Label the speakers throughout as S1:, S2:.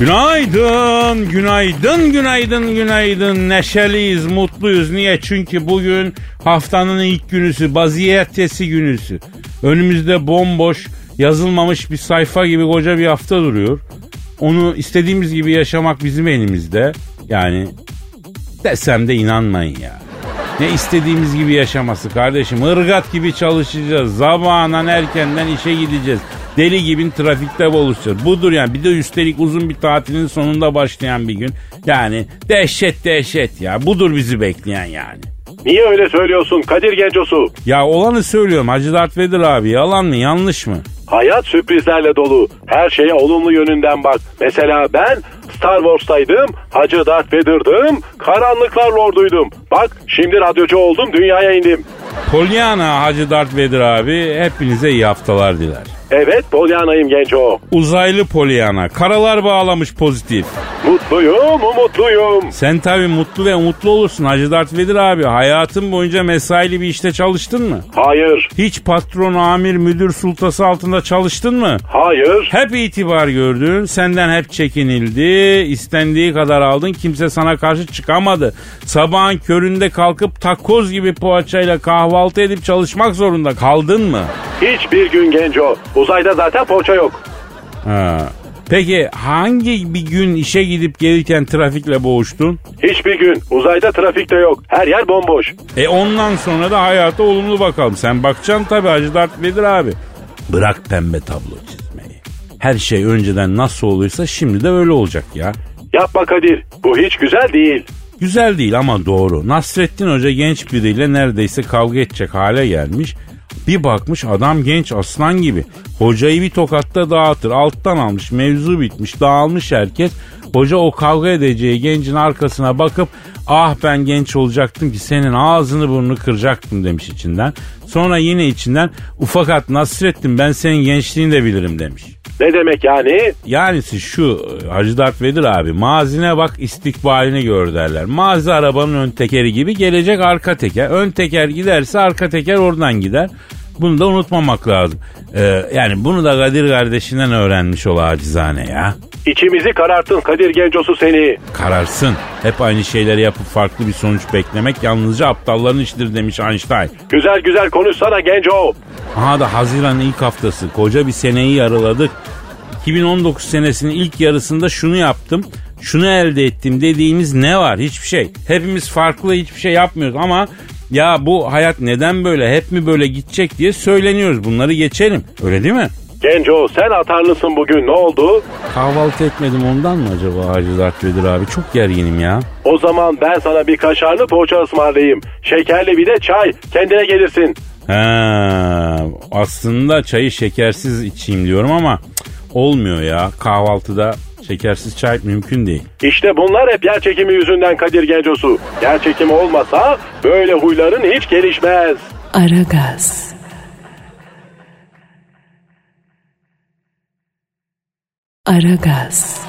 S1: Günaydın, günaydın, günaydın, günaydın. Neşeliyiz, mutluyuz. Niye? Çünkü bugün haftanın ilk günüsü, baziyertesi günüsü. Önümüzde bomboş, yazılmamış bir sayfa gibi koca bir hafta duruyor. Onu istediğimiz gibi yaşamak bizim elimizde. Yani desem de inanmayın ya. Ne istediğimiz gibi yaşaması kardeşim. Irgat gibi çalışacağız. Zamandan erkenden işe gideceğiz. Deli gibi trafikte buluşacağız. Budur yani. Bir de üstelik uzun bir tatilin sonunda başlayan bir gün. Yani dehşet dehşet ya. Budur bizi bekleyen yani.
S2: Niye öyle söylüyorsun Kadir Gencosu?
S1: Ya olanı söylüyorum Hacı Dert Vedir abi. Yalan mı yanlış mı?
S2: Hayat sürprizlerle dolu. Her şeye olumlu yönden bak. Mesela ben Star Wars'taydım, Hacı Darth Vader'dım, Karanlıklar Lordu'ydum. Bak şimdi radyocu oldum, dünyaya indim.
S1: Pollyanna Hacı Dert Vedir abi hepinize iyi haftalar diler.
S2: Evet, Polyana'yım Genco.
S1: Uzaylı Pollyanna. Karalar bağlamış pozitif.
S2: Mutluyum, umutluyum.
S1: Sen tabii mutlu ve umutlu olursun Hacı Dert Vedir abi. Hayatın boyunca mesaili bir işte çalıştın mı?
S2: Hayır,
S1: Hiç patron, amir, müdür sultası altında çalıştın mı?
S2: hayır,
S1: Hep itibar gördün, senden hep çekinildi, istendiği kadar aldın, kimse sana karşı çıkamadı. Sabahın köründe kalkıp takoz gibi poğaçayla kahvaltı edip çalışmak zorunda kaldın mı?
S2: hiçbir gün Genco. Uzayda zaten poğaça yok.
S1: Ha. Peki hangi bir gün işe gidip gelirken trafikle boğuştun?
S2: Hiçbir gün. Uzayda trafik de yok. Her yer bomboş.
S1: E ondan sonra da hayata olumlu bakalım. Sen bakacaksın tabii Hacı Dert Vedir abi. Bırak pembe tablo çizmeyi. Her şey önceden nasıl oluyorsa şimdi de öyle olacak ya.
S2: Yapma Kadir, bu hiç güzel değil.
S1: Güzel değil ama doğru. Nasrettin Hoca genç biriyle neredeyse kavga edecek hale gelmiş. Bir bakmış adam genç aslan gibi. Hocayı bir tokatta dağıtır. Alttan almış mevzu bitmiş dağılmış herkes. Hoca o kavga edeceği gencin arkasına bakıp ah ben genç olacaktım ki senin ağzını burnunu kıracaktım demiş içinden. Sonra yine içinden ufakat Nasrettin ben senin gençliğini de bilirim demiş.
S2: Ne demek yani?
S1: Yani siz şu Hacı Dert Vedir abi mazine bak istikbalini gör derler. Mazi arabanın ön tekeri gibi gelecek arka teker. Ön teker giderse arka teker oradan gider. Bunu da unutmamak lazım. Ee, yani bunu da Kadir kardeşinden öğrenmiş ol acizane ya.
S2: İçimizi kararttın Kadir Gencosu seni.
S1: Kararsın. Hep aynı şeyleri yapıp farklı bir sonuç beklemek yalnızca aptalların işidir demiş Einstein.
S2: Güzel güzel konuşsana Genco.
S1: Aha da Haziran'ın ilk haftası. Koca bir seneyi yarıladık. 2019 senesinin ilk yarısında şunu yaptım, şunu elde ettim dediğimiz ne var? Hiçbir şey. Hepimiz farklı hiçbir şey yapmıyoruz ama ya bu hayat neden böyle, hep mi böyle gidecek diye söyleniyoruz. Bunları geçelim. Öyle değil mi?
S2: Genco sen atarlısın bugün ne oldu?
S1: Kahvaltı etmedim ondan mı acaba Hacı Dert Vedir abi? Çok gerginim ya.
S2: O zaman ben sana bir kaşarlı poğaça ısmarlayayım. Şekerli bir de çay. Kendine gelirsin.
S1: Ha, aslında çayı şekersiz içeyim diyorum ama cık, olmuyor ya. Kahvaltıda şekersiz çay mümkün değil.
S2: İşte bunlar hep yer çekimi yüzünden Kadir Gencosu. Yer çekimi olmasa böyle huyların hiç gelişmez.
S3: Aragaz. Aragaz.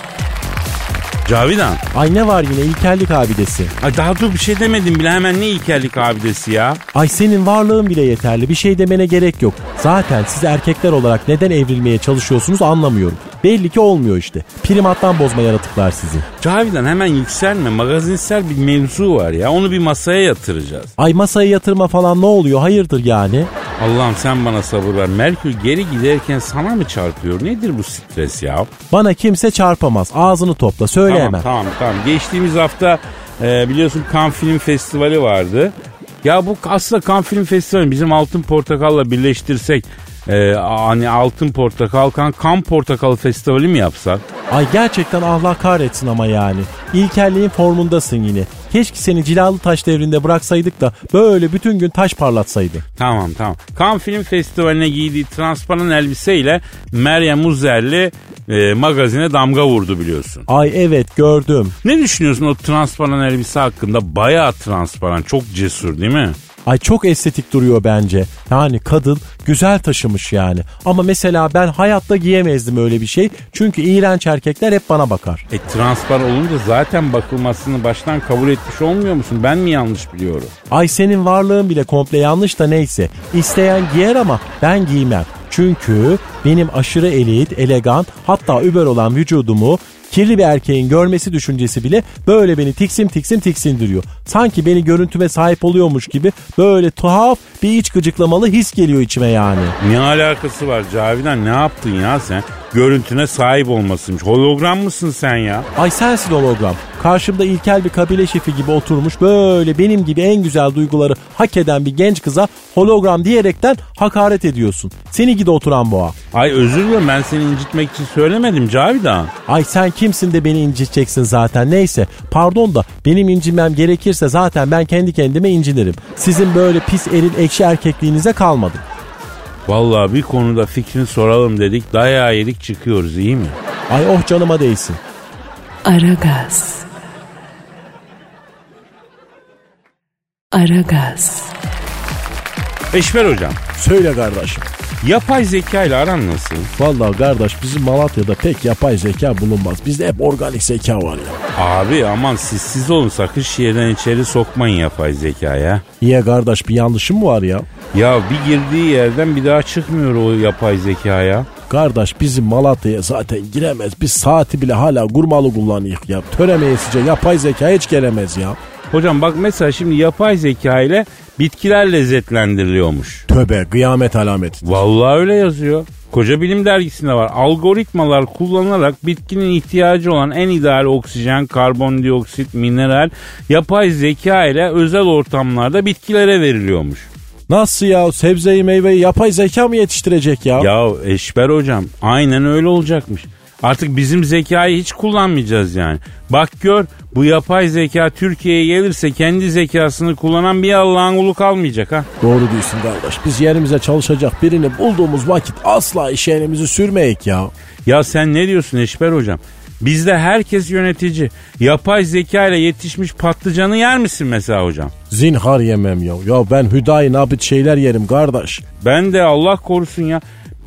S1: Cavidan.
S4: Ay ne var yine ilkellik abidesi.
S1: Ay daha dur bir şey demedim bile hemen ne ilkellik abidesi ya.
S4: Ay senin varlığın bile yeterli. Bir şey demene gerek yok. Zaten siz erkekler olarak neden evrilmeye çalışıyorsunuz anlamıyorum. Belli ki olmuyor işte. Primattan bozma yaratıklar sizi.
S1: Cavidan hemen yükselme magazinsel bir mevzu var ya onu bir masaya yatıracağız.
S4: Ay masaya yatırma falan ne oluyor hayırdır yani?
S1: Allah'ım sen bana sabır ver. Merkür geri giderken sana mı çarpıyor? Nedir bu stres ya?
S2: Bana kimse çarpamaz. Ağzını topla söyle
S1: Tamam
S2: hemen.
S1: tamam tamam. Geçtiğimiz hafta e, biliyorsun Cannes Film Festivali vardı. Ya bu aslında Cannes Film Festivali bizim Altın Portakal'la birleştirsek e, hani Altın Portakal kan Kan Portakal Festivali mi yapsak?
S2: Ay gerçekten Allah kahretsin ama yani. İlkelliğin formundasın yine. Keşke seni cilalı taş devrinde bıraksaydık da böyle bütün gün taş parlatsaydı.
S1: Tamam tamam. Cannes Film Festivali'ne giydiği transparan elbiseyle Meryem Uzerli e, magazine damga vurdu biliyorsun.
S2: Ay evet gördüm.
S1: Ne düşünüyorsun o transparan elbise hakkında? Bayağı transparan, çok cesur değil mi?
S2: Ay çok estetik duruyor bence. Yani kadın güzel taşımış yani. Ama mesela ben hayatta giyemezdim öyle bir şey. Çünkü iğrenç erkekler hep bana bakar.
S1: E transparan olunca zaten bakılmasını baştan kabul etmiş olmuyor musun? Ben mi yanlış biliyorum?
S2: Ay senin varlığın bile komple yanlış da neyse. İsteyen giyer ama ben giymem. Çünkü benim aşırı elit, elegan hatta über olan vücudumu kirli bir erkeğin görmesi düşüncesi bile böyle beni tiksim tiksim tiksindiriyor. Sanki beni görüntüme sahip oluyormuş gibi böyle tuhaf bir iç gıcıklamalı his geliyor içime yani.
S1: Ne alakası var Cavidan? Ne yaptın ya sen? Görüntüne sahip olmasıymış. Hologram mısın sen ya?
S2: Ay sensin hologram. Karşımda ilkel bir kabile şefi gibi oturmuş böyle benim gibi en güzel duyguları hak eden bir genç kıza hologram diyerekten hakaret ediyorsun. Seni gidi oturan boğa.
S1: Ay özür dilerim ben seni incitmek için söylemedim Cavidan.
S2: Ay sen kimsin de beni inciteceksin zaten neyse. Pardon da benim incinmem gerekirse zaten ben kendi kendime incinirim. Sizin böyle pis eril ekşi erkekliğinize kalmadım.
S1: Vallahi bir konuda fikrini soralım dedik. Dayağı yedik çıkıyoruz iyi mi?
S2: Ay oh canıma değsin.
S5: Aragaz. Aragaz.
S1: Eşber hocam.
S2: Söyle kardeşim.
S1: Yapay zeka ile aran nasıl?
S2: Vallahi kardeş bizim Malatya'da pek yapay zeka bulunmaz. Bizde hep organik zeka var ya.
S1: Abi aman siz siz olun sakın şiirden içeri sokmayın yapay zekaya.
S2: Niye kardeş bir yanlışım mı var ya?
S1: Ya bir girdiği yerden bir daha çıkmıyor o yapay zekaya.
S2: Kardeş bizim Malatya'ya zaten giremez. Biz saati bile hala kurmalı kullanıyık ya. Töremeyesice yapay zeka hiç gelemez ya.
S1: Hocam bak mesela şimdi yapay zeka ile bitkiler lezzetlendiriliyormuş.
S2: Töbe kıyamet alameti.
S1: Vallahi öyle yazıyor. Koca Bilim Dergisi'nde var. Algoritmalar kullanılarak bitkinin ihtiyacı olan en ideal oksijen, karbondioksit, mineral yapay zeka ile özel ortamlarda bitkilere veriliyormuş.
S2: Nasıl ya sebzeyi meyveyi yapay zeka mı yetiştirecek ya?
S1: Ya Eşber hocam aynen öyle olacakmış. Artık bizim zekayı hiç kullanmayacağız yani. Bak gör bu yapay zeka Türkiye'ye gelirse kendi zekasını kullanan bir Allah'ın ulu kalmayacak ha.
S2: Doğru diyorsun kardeş. Biz yerimize çalışacak birini bulduğumuz vakit asla iş yerimizi sürmeyek ya.
S1: Ya sen ne diyorsun Eşber hocam? Bizde herkes yönetici. Yapay zeka ile yetişmiş patlıcanı yer misin mesela hocam?
S2: Zinhar yemem ya. Ya ben hüdayi nabit şeyler yerim kardeş.
S1: Ben de Allah korusun ya.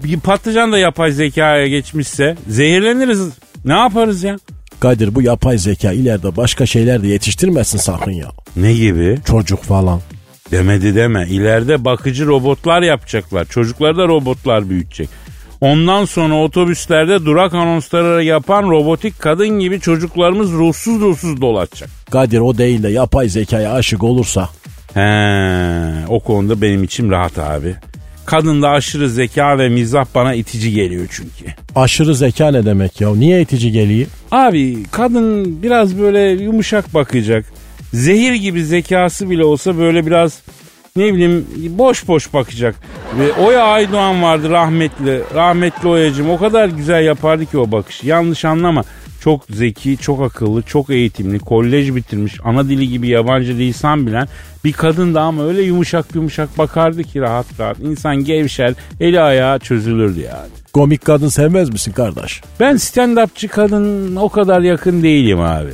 S1: Bir patlıcan da yapay zekaya geçmişse zehirleniriz. Ne yaparız ya?
S2: Kadir bu yapay zeka ileride başka şeyler de yetiştirmesin sakın ya.
S1: Ne gibi?
S2: Çocuk falan.
S1: Demedi deme. İleride bakıcı robotlar yapacaklar. Çocukları da robotlar büyütecek. Ondan sonra otobüslerde durak anonsları yapan robotik kadın gibi çocuklarımız ruhsuz ruhsuz dolaşacak.
S2: Kadir o değil de yapay zekaya aşık olursa.
S1: He, o konuda benim içim rahat abi. Kadında aşırı zeka ve mizah bana itici geliyor çünkü.
S2: Aşırı zeka ne demek ya? Niye itici geliyor?
S1: Abi kadın biraz böyle yumuşak bakacak. Zehir gibi zekası bile olsa böyle biraz ne bileyim boş boş bakacak. Ve Oya Aydoğan vardı rahmetli. Rahmetli Oya'cığım o kadar güzel yapardı ki o bakışı. Yanlış anlama. Çok zeki, çok akıllı, çok eğitimli, kolej bitirmiş, ana dili gibi yabancı lisan bilen bir kadın da ama öyle yumuşak yumuşak bakardı ki rahat rahat. İnsan gevşer, eli ayağı çözülürdü yani.
S2: Komik kadın sevmez misin kardeş?
S1: Ben stand-upçı kadın o kadar yakın değilim abi.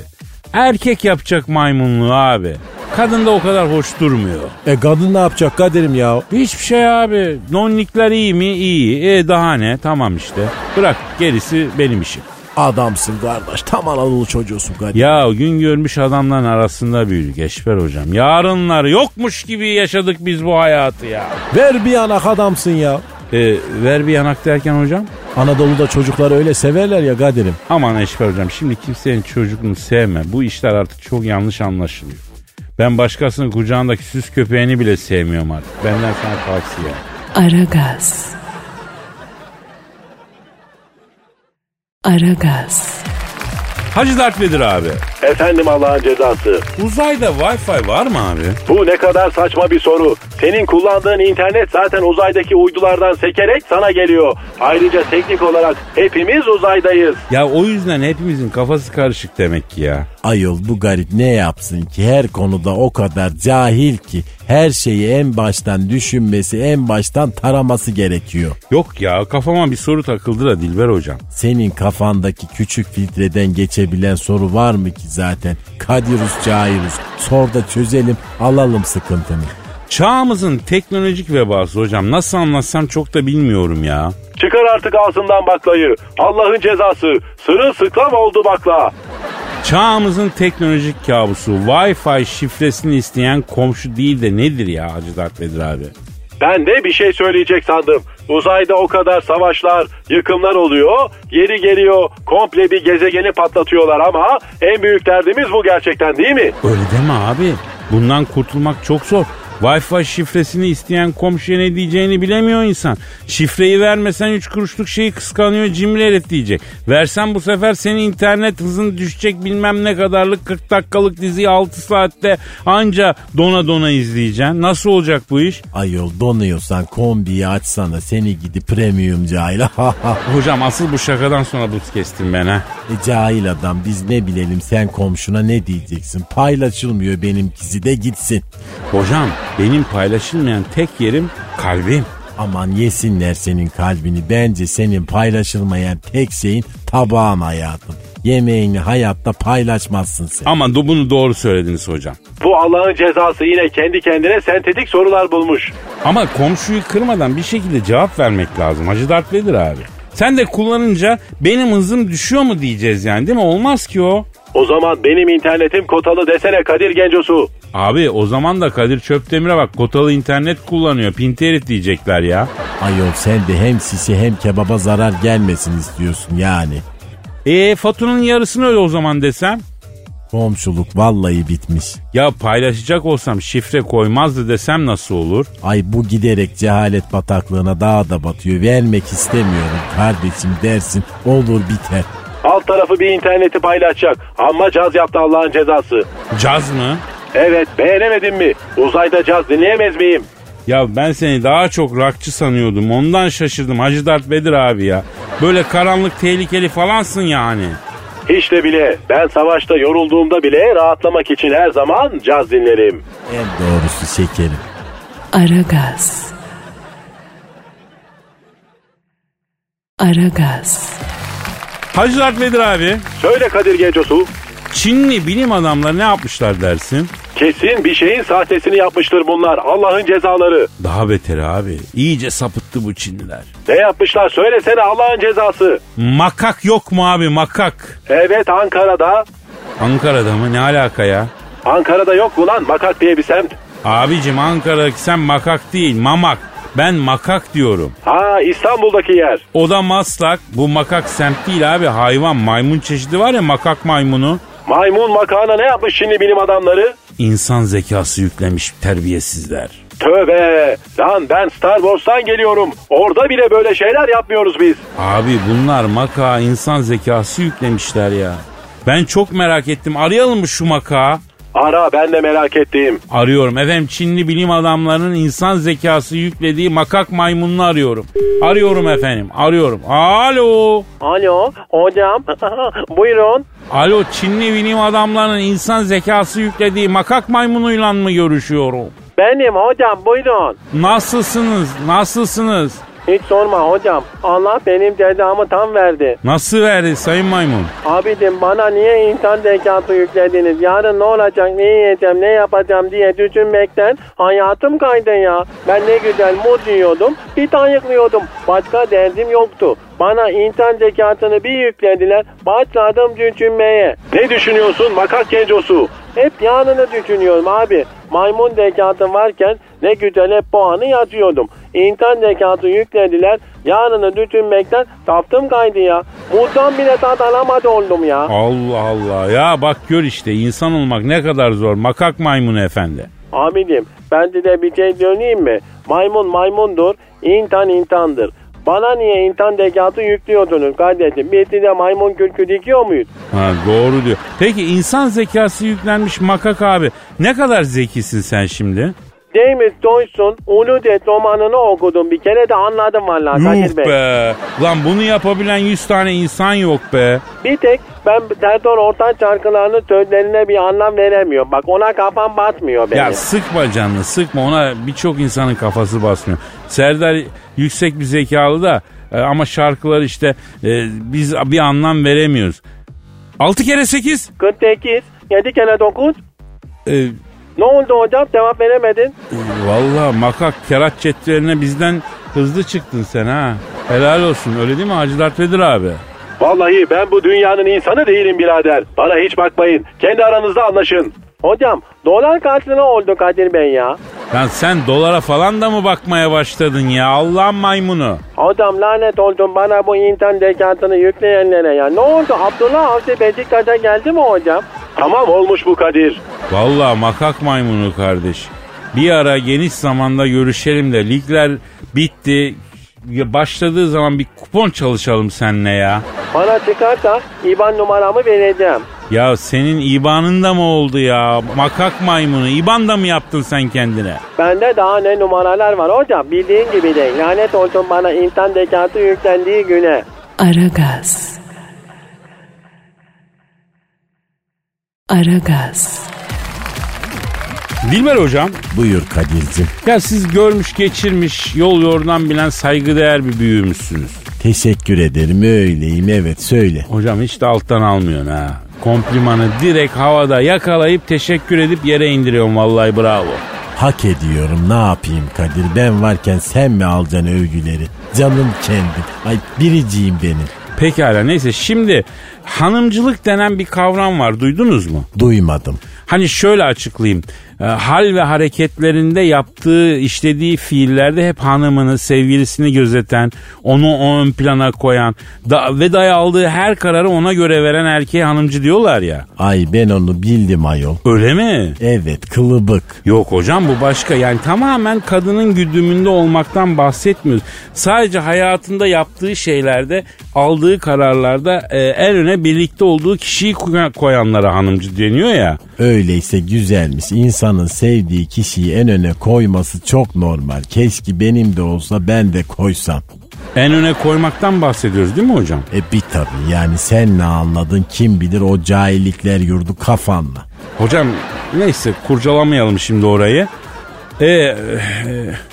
S1: Erkek yapacak maymunluğu abi. Kadın da o kadar hoş durmuyor.
S2: E kadın ne yapacak Kadir'im ya?
S1: Hiçbir şey abi. Nonlikler iyi mi? İyi. E daha ne? Tamam işte. Bırak gerisi benim işim.
S2: Adamsın kardeş. Tam Anadolu çocuğusun Kadir.
S1: Ya gün görmüş adamların arasında büyüdük Eşber hocam. Yarınlar yokmuş gibi yaşadık biz bu hayatı ya.
S2: Ver bir yanak adamsın ya.
S1: E, ver bir yanak derken hocam.
S2: Anadolu'da çocukları öyle severler ya Kadir'im.
S1: Aman Eşber hocam şimdi kimsenin çocuğunu sevme. Bu işler artık çok yanlış anlaşılıyor. Ben başkasının kucağındaki süs köpeğini bile sevmiyorum artık. Benden sana tavsiye.
S3: Aragaz. Aragaz.
S1: Hacı Darth Vader abi.
S6: Efendim Allah'ın cezası.
S1: Uzayda Wi-Fi var mı abi?
S6: Bu ne kadar saçma bir soru. Senin kullandığın internet zaten uzaydaki uydulardan sekerek sana geliyor. Ayrıca teknik olarak hepimiz uzaydayız.
S1: Ya o yüzden hepimizin kafası karışık demek ki ya.
S2: Ayol bu garip ne yapsın ki her konuda o kadar cahil ki her şeyi en baştan düşünmesi en baştan taraması gerekiyor.
S1: Yok ya kafama bir soru takıldı da Dilber hocam.
S2: Senin kafandaki küçük filtreden geçebilen soru var mı ki zaten? Kadirus cahilus sor da çözelim alalım sıkıntını.
S1: Çağımızın teknolojik vebası hocam nasıl anlatsam çok da bilmiyorum ya.
S6: Çıkar artık ağzından baklayı. Allah'ın cezası. Sırılsıklam oldu bakla.
S1: Çağımızın teknolojik kabusu Wi-Fi şifresini isteyen komşu değil de nedir ya Hacı Darth Vader abi?
S6: Ben de bir şey söyleyecek sandım. Uzayda o kadar savaşlar, yıkımlar oluyor. Yeri geliyor komple bir gezegeni patlatıyorlar ama en büyük derdimiz bu gerçekten değil mi?
S1: Öyle deme abi. Bundan kurtulmak çok zor. Wi-Fi şifresini isteyen komşuya ne diyeceğini bilemiyor insan. Şifreyi vermesen 3 kuruşluk şeyi kıskanıyor cimri herif diyecek. Versen bu sefer senin internet hızın düşecek bilmem ne kadarlık 40 dakikalık diziyi 6 saatte anca dona dona izleyeceksin. Nasıl olacak bu iş?
S2: Ayol donuyorsan kombiyi açsana seni gidi premium cahil.
S1: Hocam asıl bu şakadan sonra buz kestim ben ha.
S2: E, cahil adam biz ne bilelim sen komşuna ne diyeceksin? Paylaşılmıyor benimkisi de gitsin.
S1: Hocam benim paylaşılmayan tek yerim kalbim.
S2: Aman yesinler senin kalbini. Bence senin paylaşılmayan tek şeyin tabağın hayatım. Yemeğini hayatta paylaşmazsın sen.
S1: Ama do- bunu doğru söylediniz hocam.
S6: Bu Allah'ın cezası yine kendi kendine sentetik sorular bulmuş.
S1: Ama komşuyu kırmadan bir şekilde cevap vermek lazım. Hacı Dert Vedir abi. Sen de kullanınca benim hızım düşüyor mu diyeceğiz yani değil mi? Olmaz ki o.
S6: O zaman benim internetim kotalı desene Kadir Gencosu.
S1: Abi o zaman da Kadir Çöptemir'e bak kotalı internet kullanıyor. Pinti herif diyecekler ya.
S2: Ayol sen de hem sisi hem kebaba zarar gelmesin istiyorsun yani.
S1: E faturanın yarısını öyle o zaman desem.
S2: Komşuluk vallahi bitmiş.
S1: Ya paylaşacak olsam şifre koymazdı desem nasıl olur?
S2: Ay bu giderek cehalet bataklığına daha da batıyor. Vermek istemiyorum kardeşim dersin olur biter.
S6: Alt tarafı bir interneti paylaşacak. Amma caz yaptı Allah'ın cezası.
S1: Caz mı?
S6: Evet beğenemedin mi? Uzayda caz dinleyemez miyim?
S1: Ya ben seni daha çok rakçı sanıyordum. Ondan şaşırdım Hacı Dert Vedir abi ya. Böyle karanlık tehlikeli falansın yani.
S6: Hiç de bile. Ben savaşta yorulduğumda bile rahatlamak için her zaman caz dinlerim.
S2: En doğrusu şekerim.
S3: Aragaz. Aragaz.
S1: Hacı Dert Vedir abi.
S6: Söyle Kadir Gencosu.
S1: Çinli bilim adamları ne yapmışlar dersin?
S6: Kesin bir şeyin sahtesini yapmıştır bunlar. Allah'ın cezaları.
S1: Daha beter abi. İyice sapıttı bu Çinliler.
S6: Ne yapmışlar söylesene Allah'ın cezası.
S1: Makak yok mu abi makak?
S6: Evet Ankara'da.
S1: Ankara'da mı ne alaka ya?
S6: Ankara'da yok mu lan makak diye bir semt?
S1: Abicim Ankara'daki sen makak değil mamak. Ben makak diyorum.
S6: Ha İstanbul'daki yer.
S1: O da maslak. Bu makak semt değil abi hayvan maymun çeşidi var ya makak maymunu.
S6: Maymun makağına ne yapmış şimdi bilim adamları?
S1: İnsan zekası yüklemiş terbiyesizler.
S6: Tövbe! Lan ben Star Wars'tan geliyorum. Orada bile böyle şeyler yapmıyoruz biz.
S1: Abi bunlar maka insan zekası yüklemişler ya. Ben çok merak ettim. Arayalım mı şu maka?
S6: Ara ben de merak ettiğim.
S1: Arıyorum. Efendim Çinli bilim adamlarının insan zekası yüklediği makak maymununu arıyorum. Arıyorum efendim. Arıyorum. Alo.
S6: Alo hocam buyurun.
S1: Alo Çinli bilim adamlarının insan zekası yüklediği makak maymunuyla mı görüşüyorum?
S6: Benim hocam buyurun.
S1: Nasılsınız? Nasılsınız?
S6: Hiç sorma hocam. Allah benim cezamı tam verdi.
S1: Nasıl verdi sayın maymun?
S6: Abicim bana niye insan zekası yüklediniz? Yarın ne olacak, ne yiyeceğim, ne yapacağım diye düşünmekten hayatım kaydı ya. Ben ne güzel muz yiyordum, bir yıklıyordum. Başka derdim yoktu. Bana insan zekasını bir yüklediler, başladım düşünmeye. Ne düşünüyorsun makak gencosu? Hep yanını düşünüyorum abi. Maymun zekası varken ne güzel hep bu anı yazıyordum. İnsan zekası yüklediler, yarını düşünmekten taftım kaydı ya. Muzdan bile tat alamadı oldum ya.
S1: Allah Allah. Ya bak gör işte insan olmak ne kadar zor. Makak maymunu efendi.
S6: Amirim ben de bir şey döneyim mi? Maymun maymundur, intan intandır. Bana niye intan dekatı yüklüyordunuz kardeşim? Biz de maymun kürkü dikiyor muyuz?
S1: Ha, doğru diyor. Peki insan zekası yüklenmiş makak abi. Ne kadar zekisin sen şimdi?
S6: James Joyce'un Uludet romanını okudum. Bir kere de anladım vallahi Kadir
S1: Yuh
S6: Bey.
S1: be. Lan bunu yapabilen 100 tane insan yok be.
S6: Bir tek ben Serdar Ortaç şarkılarının sözlerine bir anlam veremiyorum. Bak ona kafam batmıyor benim.
S1: Ya sıkma canını sıkma ona birçok insanın kafası basmıyor. Serdar yüksek bir zekalı da e, ama şarkılar işte e, biz bir anlam veremiyoruz. 6 kere 8
S6: 48, 7 kere 9.
S1: e,
S6: Ne oldu hocam cevap veremedin.
S1: Valla makak kerat cetveline bizden hızlı çıktın sen ha. Helal olsun öyle değil mi Hacı Dert Vedir abi?
S6: Vallahi ben bu dünyanın insanı değilim birader. Bana hiç bakmayın. Kendi aranızda anlaşın. Hocam dolar kaç lira oldu Kadir Bey ya?
S1: Lan sen dolara falan da mı bakmaya başladın ya Allah'ın maymunu?
S6: Hocam lanet oldum bana bu intern zekatını yükleyenlere ya. Ne oldu Abdullah Avcı Beşiktaş'a geldi mi hocam? Tamam olmuş bu Kadir.
S1: Valla makak maymunu kardeş. Bir ara geniş zamanda görüşelim de ligler bitti. Ya Başladığı zaman bir kupon çalışalım seninle ya.
S6: Bana çıkarsa IBAN numaramı vereceğim.
S1: Ya senin ibanın da mı oldu ya? Makak maymunu. İban da mı yaptın sen kendine?
S6: Bende daha ne numaralar var hocam bildiğin gibi değil. Lanet olsun bana insan zekatı yüklendiği güne.
S3: Aragaz. Aragaz.
S1: Dilber hocam.
S2: Buyur Kadir'cim.
S1: Ya siz görmüş geçirmiş yol yordan bilen saygıdeğer bir büyüğümüzsünüz.
S2: Teşekkür ederim öyleyim evet söyle.
S1: Hocam hiç de alttan almıyorsun ha. Komplimanı direkt havada yakalayıp teşekkür edip yere indiriyorsun vallahi bravo.
S2: Hak ediyorum ne yapayım Kadir ben varken sen mi alacaksın övgüleri? Canım kendim. Ay biriciğim benim.
S1: Pekala neyse şimdi hanımcılık denen bir kavram var duydunuz mu?
S2: Duymadım.
S1: Hani şöyle açıklayayım. E, hal ve hareketlerinde yaptığı, işlediği fiillerde hep hanımını, sevgilisini gözeten, onu o ön plana koyan da, ve daya aldığı her kararı ona göre veren erkeğe hanımcı diyorlar ya.
S2: Ay ben onu bildim ayol.
S1: Öyle mi?
S2: Evet kılıbık.
S1: Yok hocam bu başka. Yani tamamen kadının güdümünde olmaktan bahsetmiyoruz. Sadece hayatında yaptığı şeylerde, aldığı kararlarda e, en öne birlikte olduğu kişiyi koy- koyanlara hanımcı deniyor ya.
S2: Öyleyse güzelmiş. İnsanın sevdiği kişiyi en öne koyması çok normal. Keşke benim de olsa ben de koysam.
S1: En öne koymaktan bahsediyoruz değil mi hocam?
S2: E bir tabii yani sen ne anladın kim bilir o cahillikler yurdu kafanla.
S1: Hocam neyse kurcalamayalım şimdi orayı. E,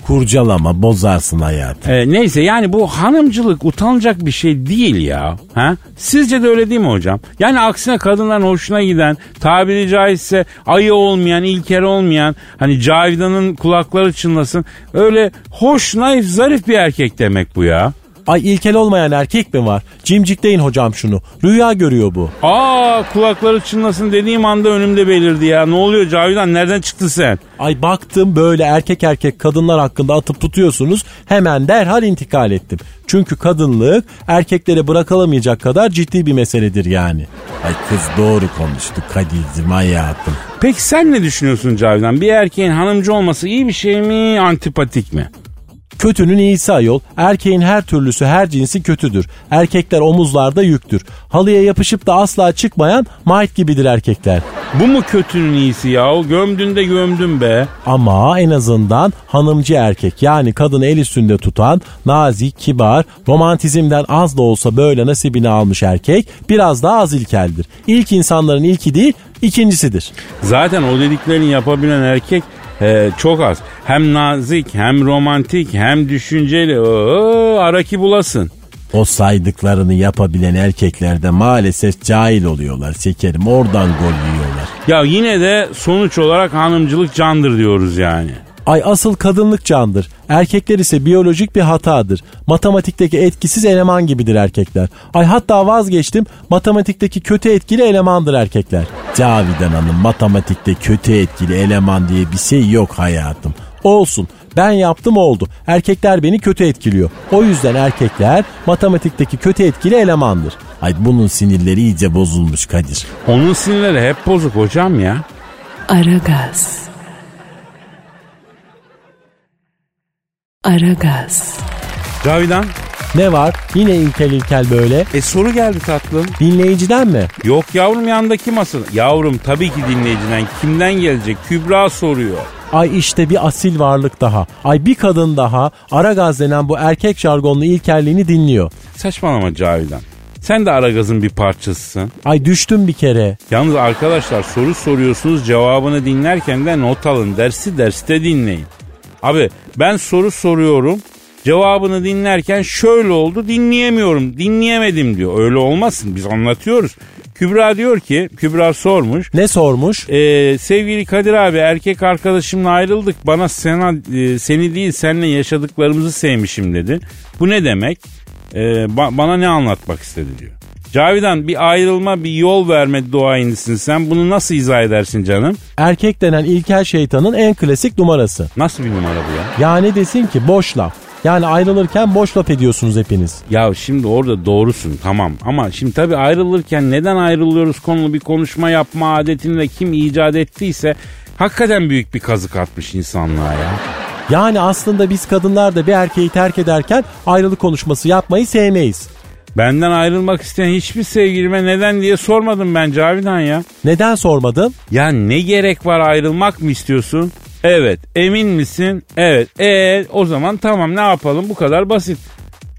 S2: Kurcalama bozarsın hayatı.
S1: e, neyse yani bu hanımcılık utanacak bir şey değil ya. Ha? Sizce de öyle değil mi hocam? Yani aksine kadınların hoşuna giden, tabiri caizse ayı olmayan, ilker olmayan, hani Cavidan'ın kulakları çınlasın. Öyle hoş, naif, zarif bir erkek demek bu ya.
S2: Ay ilkel olmayan erkek mi var? Cimcikleyin hocam şunu. Rüya görüyor bu.
S1: Aa kulakları çınlasın dediğim anda önümde belirdi ya. Ne oluyor Cavidan nereden çıktın sen?
S2: Ay baktım böyle erkek erkek kadınlar hakkında atıp tutuyorsunuz. Hemen derhal intikal ettim. Çünkü kadınlık erkeklere bırakılamayacak kadar ciddi bir meseledir yani. Ay kız doğru konuştu Kadir'cim hayatım.
S1: Peki sen ne düşünüyorsun Cavidan? Bir erkeğin hanımcı olması iyi bir şey mi, antipatik mi?
S2: Kötünün iyisi ayol. Erkeğin her türlüsü her cinsi kötüdür. Erkekler omuzlarda yüktür. Halıya yapışıp da asla çıkmayan mait gibidir erkekler.
S1: Bu mu kötünün iyisi yahu? Gömdün de gömdün be.
S2: Ama en azından hanımcı erkek yani kadını el üstünde tutan, nazik, kibar, romantizmden az da olsa böyle nasibini almış erkek biraz daha az ilkeldir. İlk insanların ilki değil ikincisidir.
S1: Zaten o dediklerini yapabilen erkek e, çok az. Hem nazik, hem romantik, hem düşünceli. Oo, ara ki bulasın.
S2: O saydıklarını yapabilen erkeklerde maalesef cahil oluyorlar şekerim oradan gol yiyorlar.
S1: Ya yine de sonuç olarak hanımcılık candır diyoruz yani.
S2: Ay asıl kadınlık candır. Erkekler ise biyolojik bir hatadır. Matematikteki etkisiz eleman gibidir erkekler. Ay hatta vazgeçtim matematikteki kötü etkili elemandır erkekler. Cavidan Hanım matematikte kötü etkili eleman diye bir şey yok hayatım. Olsun ben yaptım oldu. Erkekler beni kötü etkiliyor. O yüzden erkekler matematikteki kötü etkili elemandır. Ay bunun sinirleri iyice bozulmuş Kadir.
S1: Onun sinirleri hep bozuk hocam ya.
S3: Aragaz. Aragaz,
S1: Cavidan.
S2: Ne var? Yine ilkel ilkel böyle.
S1: E soru geldi tatlım.
S2: Dinleyiciden mi?
S1: Yok yavrum yandaki masada. Yavrum tabii ki dinleyiciden. Kimden gelecek? Kübra soruyor.
S2: Ay işte bir asil varlık daha. Ay bir kadın daha Aragaz denen bu erkek jargonlu ilkelliğini dinliyor.
S1: Saçmalama Cavidan. Sen de Aragaz'ın bir parçasısın.
S2: Ay düştüm bir kere.
S1: Yalnız arkadaşlar soru soruyorsunuz cevabını dinlerken de not alın. Dersi derste dinleyin. Abi ben soru soruyorum. Cevabını dinlerken şöyle oldu dinleyemiyorum dinleyemedim diyor. Öyle olmasın biz anlatıyoruz. Kübra diyor ki Kübra sormuş.
S2: Ne sormuş?
S1: Ee, sevgili Kadir abi erkek arkadaşımla ayrıldık. Bana sena, e, seni değil seninle yaşadıklarımızı sevmişim dedi. Bu ne demek? Ee, ba- bana ne anlatmak istedi diyor. Cavidan bir ayrılma bir yol verme duayenisin sen. Bunu nasıl izah edersin canım?
S2: Erkek denen ilkel şeytanın en klasik numarası.
S1: Nasıl bir numara bu ya?
S2: Yani desin ki boş laf. Yani ayrılırken boş laf ediyorsunuz hepiniz.
S1: Ya şimdi orada doğrusun tamam ama şimdi tabii ayrılırken neden ayrılıyoruz konulu bir konuşma yapma adetini de kim icat ettiyse hakikaten büyük bir kazık atmış insanlığa ya.
S2: Yani aslında biz kadınlar da bir erkeği terk ederken ayrılık konuşması yapmayı sevmeyiz.
S1: Benden ayrılmak isteyen hiçbir sevgilime neden diye sormadım ben Cavidan ya.
S2: Neden sormadım?
S1: Ya ne gerek var ayrılmak mı istiyorsun? Evet. Emin misin? Evet. E o zaman tamam ne yapalım bu kadar basit.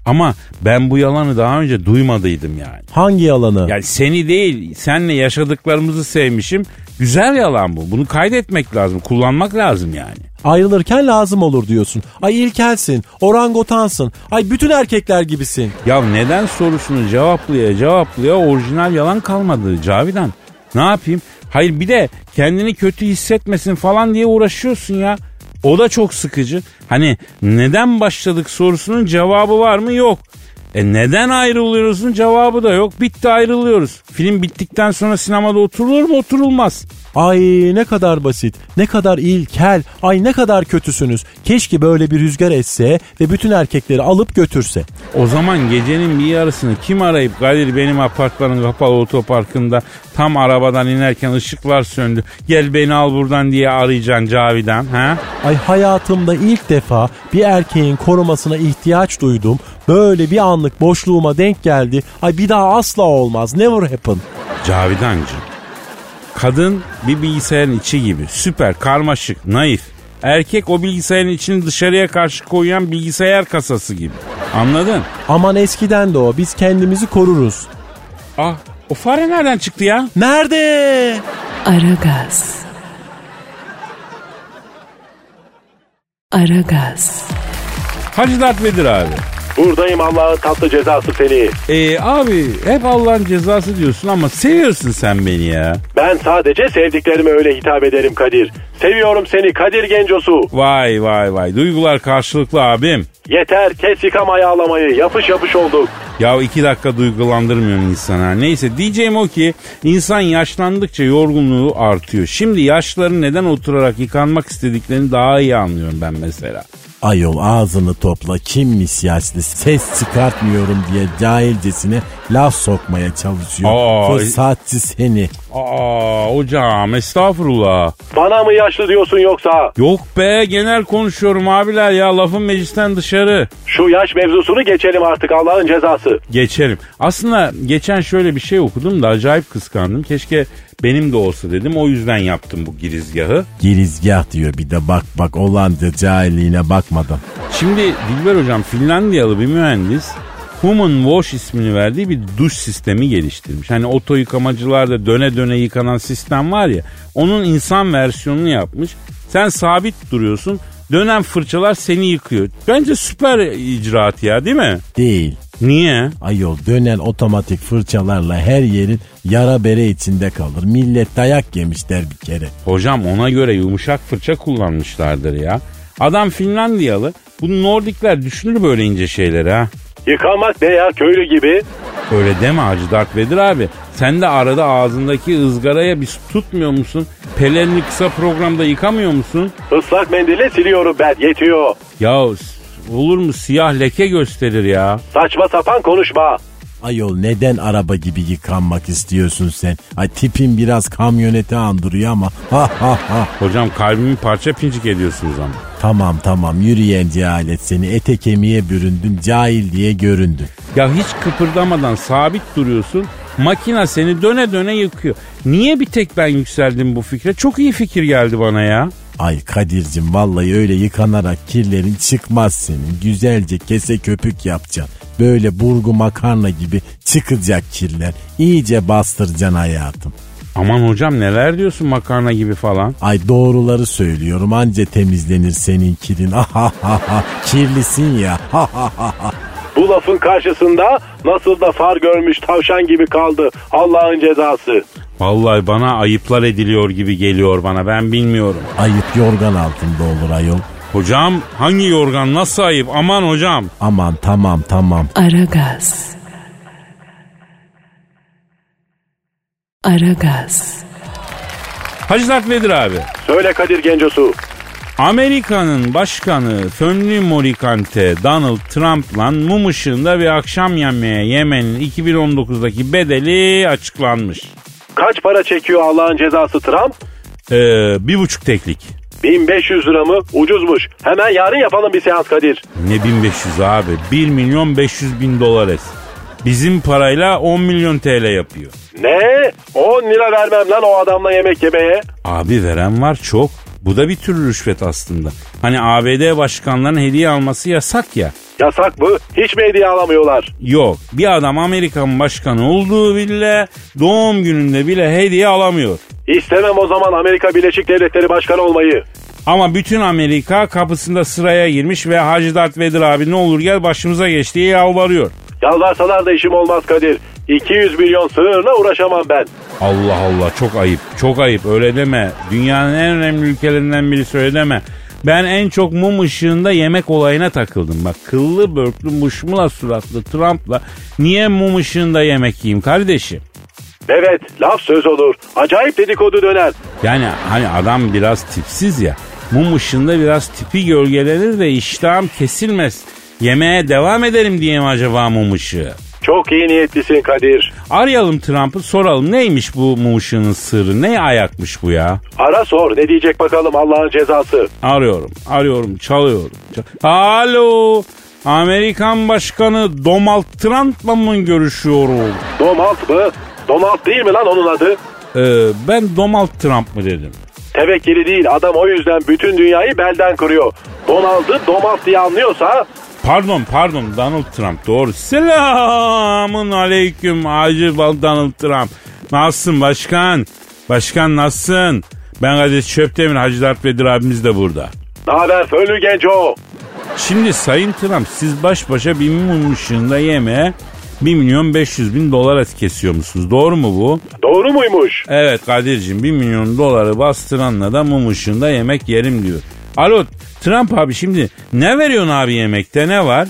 S1: Ama ben bu yalanı daha önce duymadıydım yani.
S2: Hangi yalanı?
S1: Yani seni değil, senle yaşadıklarımızı sevmişim. Güzel yalan bu. Bunu kaydetmek lazım, kullanmak lazım yani.
S2: Ayrılırken lazım olur diyorsun. Ay ilkelsin, orangotansın, ay bütün erkekler gibisin.
S1: Ya neden sorusunu cevaplaya cevaplaya orijinal yalan kalmadı Cavidan. Ne yapayım? Hayır bir de kendini kötü hissetmesin falan diye uğraşıyorsun ya. O da çok sıkıcı. Hani neden başladık sorusunun cevabı var mı? Yok. E neden ayrılıyoruzun cevabı da yok. Bitti ayrılıyoruz. Film bittikten sonra sinemada oturulur mu? Oturulmaz.
S2: Ay ne kadar basit, ne kadar ilkel, ay ne kadar kötüsünüz. Keşke böyle bir rüzgar esse ve bütün erkekleri alıp götürse.
S1: O zaman gecenin bir yarısını kim arayıp Kadir benim apartmanın kapalı otoparkında tam arabadan inerken ışıklar söndü. Gel beni al buradan diye arayacaksın Cavidan. Ha?
S2: Ay hayatımda ilk defa bir erkeğin korumasına ihtiyaç duydum. Böyle bir anlık boşluğuma denk geldi. Ay bir daha asla olmaz. Never happen.
S1: Cavidancığım. Kadın bir bilgisayarın içi gibi. Süper, karmaşık, naif. Erkek o bilgisayarın içini dışarıya karşı koyan bilgisayar kasası gibi. Anladın?
S2: Aman eskiden de o. Biz kendimizi koruruz.
S1: Ah o fare nereden çıktı ya?
S2: Nerede?
S3: Aragaz. Aragaz,
S1: Hacı Dert Vedir abi.
S6: Buradayım Allah'ın tatlı cezası seni.
S1: Ee, abi hep Allah'ın cezası diyorsun ama seviyorsun sen beni ya.
S6: Ben sadece sevdiklerime öyle hitap ederim Kadir. Seviyorum seni Kadir Gencosu.
S1: Vay vay vay. Duygular karşılıklı abim.
S6: Yeter kes yıkam ayağlamayı. Yapış yapış olduk.
S1: Ya iki dakika duygulandırmıyorsun insana. Neyse diyeceğim o ki insan yaşlandıkça yorgunluğu artıyor. Şimdi yaşları neden oturarak yıkanmak istediklerini daha iyi anlıyorum ben mesela.
S2: Ayol ağzını topla kimmiş yaşlı ses çıkartmıyorum diye cahilcesine laf sokmaya çalışıyor.
S1: Ay.
S2: Fırsatçı seni.
S1: Aa hocam estağfurullah.
S6: Bana mı yaşlı diyorsun yoksa?
S1: Yok be genel konuşuyorum abiler ya lafın meclisten dışarı.
S6: Şu yaş mevzusunu geçelim artık Allah'ın cezası.
S1: Geçelim. Aslında geçen şöyle bir şey okudum da acayip kıskandım. Keşke benim de olsa dedim. O yüzden yaptım bu girizgahı.
S2: Girizgah diyor bir de bak bak Hollanda cahilliğine bakmadım.
S1: Şimdi Dilber Hocam Finlandiyalı bir mühendis Human Wash ismini verdiği bir duş sistemi geliştirmiş. Hani oto yıkamacılarda döne döne yıkanan sistem var ya onun insan versiyonunu yapmış. Sen sabit duruyorsun dönen fırçalar seni yıkıyor. Bence süper icraat ya değil mi?
S2: Değil.
S1: Niye?
S2: Ayol dönen otomatik fırçalarla her yerin yara bere içinde kalır. Millet dayak yemişler bir kere.
S1: Hocam ona göre yumuşak fırça kullanmışlardır ya. Adam Finlandiyalı. Bu Nordikler düşünür böyle ince şeyleri ha.
S6: Yıkamak ne ya köylü gibi?
S1: Öyle deme Hacı Dert Vedir abi. Sen de arada ağzındaki ızgaraya bir su tutmuyor musun? Pelerini kısa programda yıkamıyor musun?
S6: Islak mendille siliyorum ben yetiyor.
S1: Ya olur mu siyah leke gösterir ya.
S6: Saçma sapan konuşma.
S2: Ayol neden araba gibi yıkanmak istiyorsun sen? Ay tipin biraz kamyoneti andırıyor ama. Ha ha ha.
S1: Hocam kalbimi parça pincik ediyorsunuz ama.
S2: Tamam tamam yürüyen cehalet seni ete kemiğe büründün cahil diye göründün.
S1: Ya hiç kıpırdamadan sabit duruyorsun. Makina seni döne döne yıkıyor. Niye bir tek ben yükseldim bu fikre? Çok iyi fikir geldi bana ya.
S2: Ay Kadir'cim vallahi öyle yıkanarak kirlerin çıkmaz senin. Güzelce kese köpük yapacaksın. Böyle burgu makarna gibi çıkacak kirler. İyice bastıracaksın hayatım.
S1: Aman hocam neler diyorsun makarna gibi falan.
S2: Ay doğruları söylüyorum anca temizlenir senin kirin. Kirlisin ya.
S6: Bu lafın karşısında nasıl da far görmüş tavşan gibi kaldı Allah'ın cezası.
S1: Vallahi bana ayıplar ediliyor gibi geliyor bana ben bilmiyorum.
S2: Ayıp yorgan altında olur ayol.
S1: Hocam hangi yorgan nasıl ayıp aman hocam.
S2: Aman tamam tamam.
S3: Aragaz. Aragaz.
S1: Hacı Dert Vedir abi.
S6: Söyle Kadir Gencosu.
S1: Amerika'nın başkanı Fönlü Morikante Donald Trump'la mum ışığında bir akşam yemeğe yemenin 2019'daki bedeli açıklanmış.
S6: Kaç para çekiyor Allah'ın cezası Trump?
S1: Ee, bir buçuk teklik.
S6: 1500 lira mı? Ucuzmuş. Hemen yarın yapalım bir seans Kadir.
S1: Ne 1500 abi? 1 milyon 500 bin dolar et. Bizim parayla 10 milyon TL yapıyor.
S6: Ne? 10 lira vermem lan o adamla yemek yemeye.
S1: Abi veren var çok. Bu da bir tür rüşvet aslında. Hani ABD başkanlarının hediye alması yasak ya.
S6: Yasak mı? Hiç mi hediye alamıyorlar?
S1: Yok bir adam Amerikan başkanı olduğu bile doğum gününde bile hediye alamıyor.
S6: İstemem o zaman Amerika Birleşik Devletleri Başkanı olmayı.
S1: Ama bütün Amerika kapısında sıraya girmiş ve Hacı Dert Vedir abi ne olur gel başımıza geç diye yalvarıyor.
S6: Yalvarsalar da işim olmaz Kadir. 200 milyon sığırla uğraşamam ben.
S1: Allah Allah çok ayıp çok ayıp öyle deme. Dünyanın en önemli ülkelerinden biri söyle deme. Ben en çok mum ışığında yemek olayına takıldım. Bak kıllı börklü muşmula suratlı Trump'la niye mum ışığında yemek yiyeyim kardeşim?
S6: Evet laf söz olur. Acayip dedikodu döner.
S1: Yani hani adam biraz tipsiz ya. Mum ışığında biraz tipi gölgelenir de iştahım kesilmez. Yemeğe devam edelim diye mi acaba mum ışığı?
S6: Çok iyi niyetlisin Kadir.
S1: Arayalım Trump'ı soralım neymiş bu mum ışığının sırrı? Ne ayakmış bu ya?
S6: Ara sor ne diyecek bakalım Allah'ın cezası.
S1: Arıyorum, arıyorum, çalıyorum. Çal- Alo, Amerikan Başkanı Donald Trump'la mı görüşüyorum?
S6: Donald mı? Donald değil mi lan onun adı?
S1: Ee, ben Donald Trump mı dedim?
S6: Tevekkili değil adam o yüzden bütün dünyayı belden kuruyor. Donald'ı Donald diye anlıyorsa
S1: Pardon pardon Donald Trump doğru. Selamın aleyküm Hacı Bal- Donald Trump. Nasılsın başkan? Başkan nasılsın? Ben Kadir Çöptemir Hacı Dert Vedir abimiz de burada.
S6: ne haber Fönlü Genco?
S1: Şimdi Sayın Trump siz baş başa bir mum ışığında yemeğe 1 milyon 500 bin dolar et kesiyor musunuz? Doğru mu bu?
S6: Doğru muymuş?
S1: Evet Kadir'cim 1 milyon doları bastıranla da mum ışığında yemek yerim diyor. Alo Trump abi şimdi ne veriyorsun abi yemekte ne var?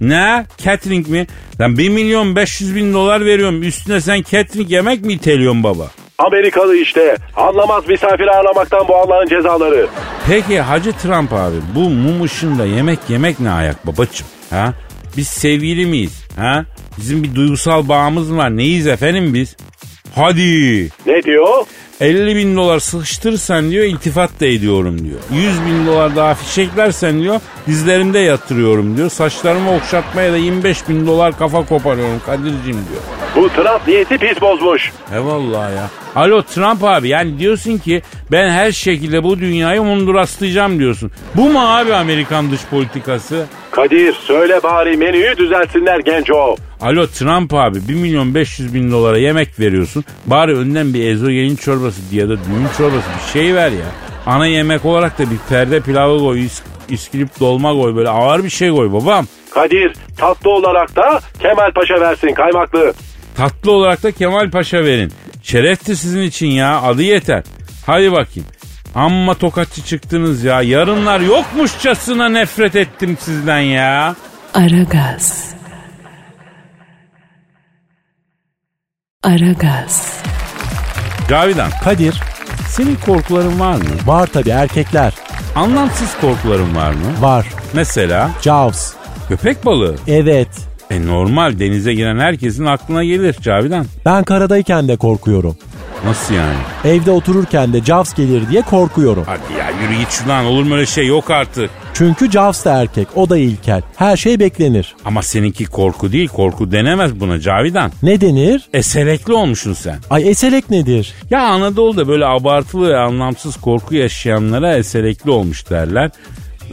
S1: Ne? Catering mi? Lan 1 milyon 500 bin dolar veriyorum üstüne sen catering yemek mi iteliyorsun baba?
S6: Amerikalı işte. Anlamaz misafir ağırlamaktan bu Allah'ın cezaları.
S1: Peki Hacı Trump abi bu mum ışığında yemek yemek ne ayak babacım? Ha? Biz sevgili miyiz? Ha? Bizim bir duygusal bağımız mı var? Neyiz efendim biz? Hadi.
S6: Ne diyor?
S1: 50 bin dolar sıkıştırırsan diyor iltifat da ediyorum diyor. 100 bin dolar daha fişeklersen diyor dizlerimde yatırıyorum diyor. Saçlarımı okşatmaya da 25 bin dolar kafa koparıyorum Kadir'cim diyor.
S6: Bu Trump niyeti pis bozmuş.
S1: He vallahi ya. Alo Trump abi yani diyorsun ki ben her şekilde bu dünyayı Honduraslayacağım diyorsun. Bu mu abi Amerikan dış politikası?
S6: Kadir söyle bari menüyü düzelsinler genco.
S1: Alo Trump abi 1 milyon 500 bin dolara yemek veriyorsun. Bari önden bir ezogelin çorbası ya da düğün çorbası bir şey ver ya. Ana yemek olarak da bir perde pilavı koy, is- iskilip dolma koy böyle ağır bir şey koy babam.
S6: Kadir tatlı olarak da Kemal Paşa versin kaymaklı.
S1: Tatlı olarak da Kemal Paşa verin. Şereftir sizin için ya adı yeter. Hadi bakayım. Amma tokatçı çıktınız ya. Yarınlar yokmuşçasına nefret ettim sizden ya.
S3: Aragaz. Aragaz.
S1: Cavidan
S2: Kadir
S1: senin korkuların var mı?
S2: var tabi erkekler
S1: Anlamsız korkuların var mı?
S2: var.
S1: Mesela
S2: Jaws
S1: köpek balığı.
S2: evet
S1: E normal denize giren herkesin aklına gelir Cavidan.
S2: ben karadayken de korkuyorum.
S1: Nasıl yani?
S2: Evde otururken de Jaws gelir diye korkuyorum.
S1: Hadi ya yürü git şuradan olur mu öyle şey yok artık.
S2: Çünkü Jaws da erkek, o da ilkel. Her şey beklenir.
S1: Ama seninki korku değil korku denemez buna Cavidan.
S2: Ne denir?
S1: Eselekli olmuşsun sen.
S2: Ay eselek nedir?
S1: Ya Anadolu'da böyle abartılı ve anlamsız korku yaşayanlara eselekli olmuş derler.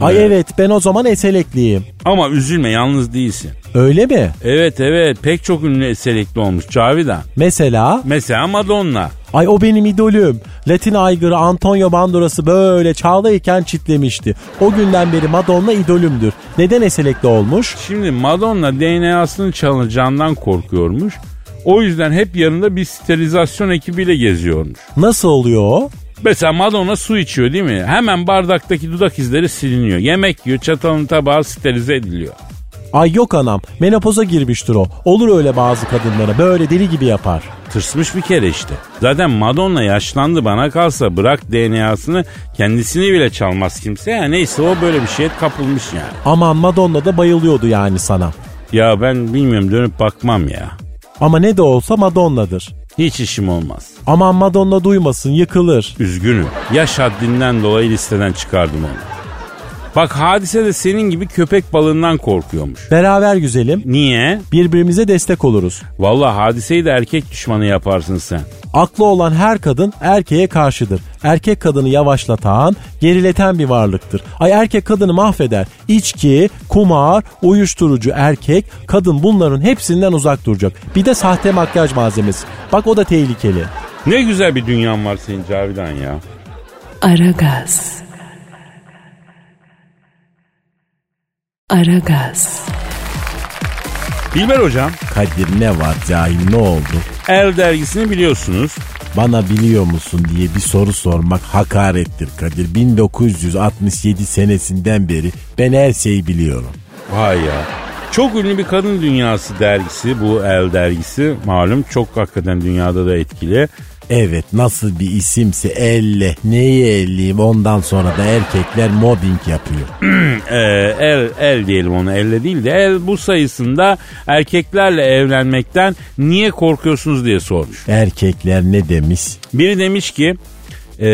S2: Ay
S1: Ee,
S2: evet ben o zaman eselekliyim.
S1: Ama üzülme yalnız değilsin.
S2: Öyle mi?
S1: Evet evet pek çok ünlü eselekli olmuş Cavidan.
S2: Mesela
S1: Mesela Madonna.
S2: ay o benim idolüm. Latin aygırı Antonio Banduras'ı böyle çağlayken çitlemişti. O günden beri Madonna idolümdür. Neden eselekli olmuş?
S1: Şimdi Madonna DNA'sını çalacağından korkuyormuş. O yüzden hep yanında bir sterilizasyon ekibiyle geziyormuş.
S2: Nasıl oluyor o?
S1: Mesela Madonna su içiyor değil mi? Hemen bardaktaki dudak izleri siliniyor. Yemek yiyor, çatalın tabağı sterilize ediliyor.
S2: Ay yok anam menopoza girmiştir o. Olur öyle bazı kadınlara böyle deli gibi yapar.
S1: Tırsmış bir kere işte. Zaten Madonna yaşlandı bana kalsa bırak DNA'sını kendisini bile çalmaz kimse. Ya neyse o böyle bir şeye kapılmış yani.
S2: Aman Madonna da bayılıyordu yani sana.
S1: Ya ben bilmiyorum dönüp bakmam ya.
S2: Ama ne de olsa Madonna'dır.
S1: Hiç işim olmaz.
S2: Aman Madonna duymasın yıkılır.
S1: Üzgünüm. Yaş haddinden dolayı listeden çıkardım onu. Bak hadise de senin gibi köpek balığından korkuyormuş.
S2: Beraber güzelim
S1: Niye?
S2: birbirimize destek oluruz.
S1: Vallahi hadiseyi de erkek düşmanı yaparsın sen.
S2: Aklı olan her kadın erkeğe karşıdır. Erkek kadını yavaşlatan, gerileten bir varlıktır. Ay erkek kadını mahveder. İçki, kumar, uyuşturucu erkek, kadın bunların hepsinden uzak duracak. Bir de sahte makyaj malzemesi. Bak o da tehlikeli.
S1: Ne güzel bir dünyan var senin Cavidan ya.
S3: Aragaz. Aragaz.
S1: Bilber hocam,
S2: Kadir ne var cahil ne oldu?
S1: El dergisini biliyorsunuz.
S2: Bana biliyor musun diye bir soru sormak hakarettir Kadir. 1967 senesinden beri ben her şeyi biliyorum.
S1: Vay ya. Çok ünlü bir kadın dünyası dergisi bu El dergisi. Malum çok hakikaten dünyada da etkili.
S2: Evet nasıl bir isimse elle neyi elleyim ondan sonra da erkekler mobbing yapıyor.
S1: Ee, el, el diyelim ona elle değil de el bu sayısında erkeklerle evlenmekten niye korkuyorsunuz diye sormuş.
S2: Erkekler ne demiş?
S1: Biri demiş ki ee,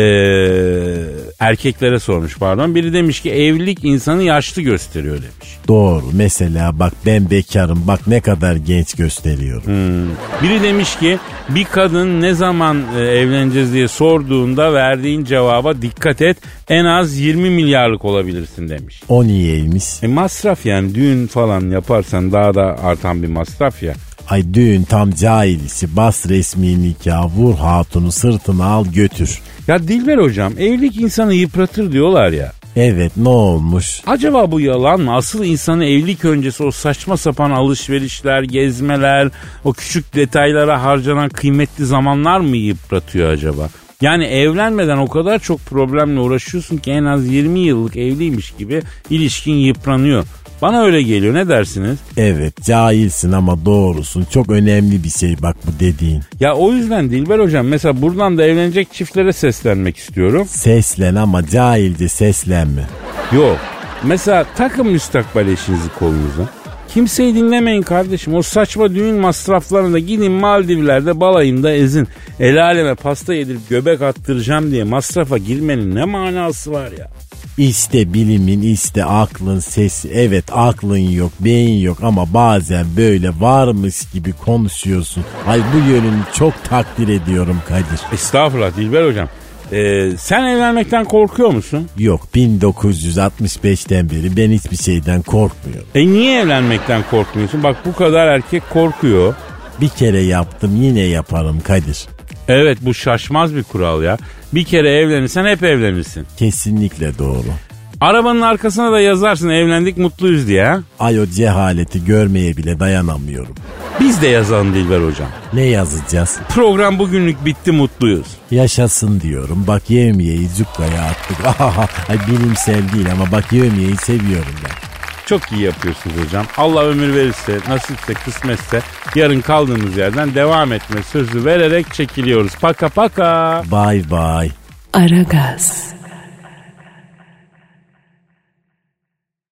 S1: erkeklere sormuş pardon. Biri demiş ki evlilik insanı yaşlı gösteriyor demiş.
S2: Doğru mesela bak ben bekarım bak ne kadar genç gösteriyorum.
S1: Biri demiş ki bir kadın ne zaman e, evleneceğiz diye sorduğunda verdiğin cevaba dikkat et en az 20 milyarlık olabilirsin demiş.
S2: O niyeymiş?
S1: E masraf yani düğün falan yaparsan daha da artan bir masraf ya.
S2: Ay düğün tam cahil işi bas resmi nikah vur hatunu sırtına al götür.
S1: Ya Dilber hocam evlilik insanı yıpratır diyorlar ya.
S2: Evet ne olmuş?
S1: Acaba bu yalan mı? Asıl insanı evlilik öncesi o saçma sapan alışverişler, gezmeler, o küçük detaylara harcanan kıymetli zamanlar mı yıpratıyor acaba? Yani evlenmeden o kadar çok problemle uğraşıyorsun ki en az 20 yıllık evliymiş gibi ilişkin yıpranıyor. Bana öyle geliyor ne dersiniz?
S2: Evet cahilsin ama doğrusun çok önemli bir şey bak bu dediğin.
S1: Ya o yüzden Dilber hocam mesela buradan da evlenecek çiftlere seslenmek istiyorum.
S2: Seslen ama cahilce seslenme.
S1: Yok. Mesela takın müstakbel eşinizi kolunuza. Kimseyi dinlemeyin kardeşim. O saçma düğün masraflarında gidin Maldivler'de balayında ezin. El aleme pasta yedirip göbek attıracağım diye masrafa girmenin ne manası var ya?
S2: İşte bilimin işte aklın sesi evet aklın yok beyin yok ama bazen böyle varmış gibi konuşuyorsun. Ay bu yönünü çok takdir ediyorum Kadir.
S1: Estağfurullah Dilber hocam. Ee, sen evlenmekten korkuyor musun?
S2: Yok 1965'ten beri ben hiçbir şeyden korkmuyorum.
S1: E niye evlenmekten korkmuyorsun? Bak bu kadar erkek korkuyor.
S2: Bir kere yaptım yine yaparım Kadir.
S1: Evet bu şaşmaz bir kural ya. Bir kere evlenirsen hep evlenirsin.
S2: Kesinlikle doğru.
S1: Arabanın arkasına da yazarsın evlendik mutluyuz diye. ha?
S2: Ay o cehaleti görmeye bile dayanamıyorum.
S1: Biz de yazalım Dilber hocam.
S2: Ne yazacağız?
S1: Program bugünlük bitti mutluyuz.
S2: Yaşasın diyorum. Bak yevmiyeyi cukkaya attık. Ay bilimsel değil ama bak yevmiyeyi seviyorum ben.
S1: Çok iyi yapıyorsunuz hocam. Allah ömür verirse, nasipse, kısmetse yarın kaldığımız yerden devam etme sözü vererek çekiliyoruz. Paka paka.
S2: Bye bye.
S3: Aragaz.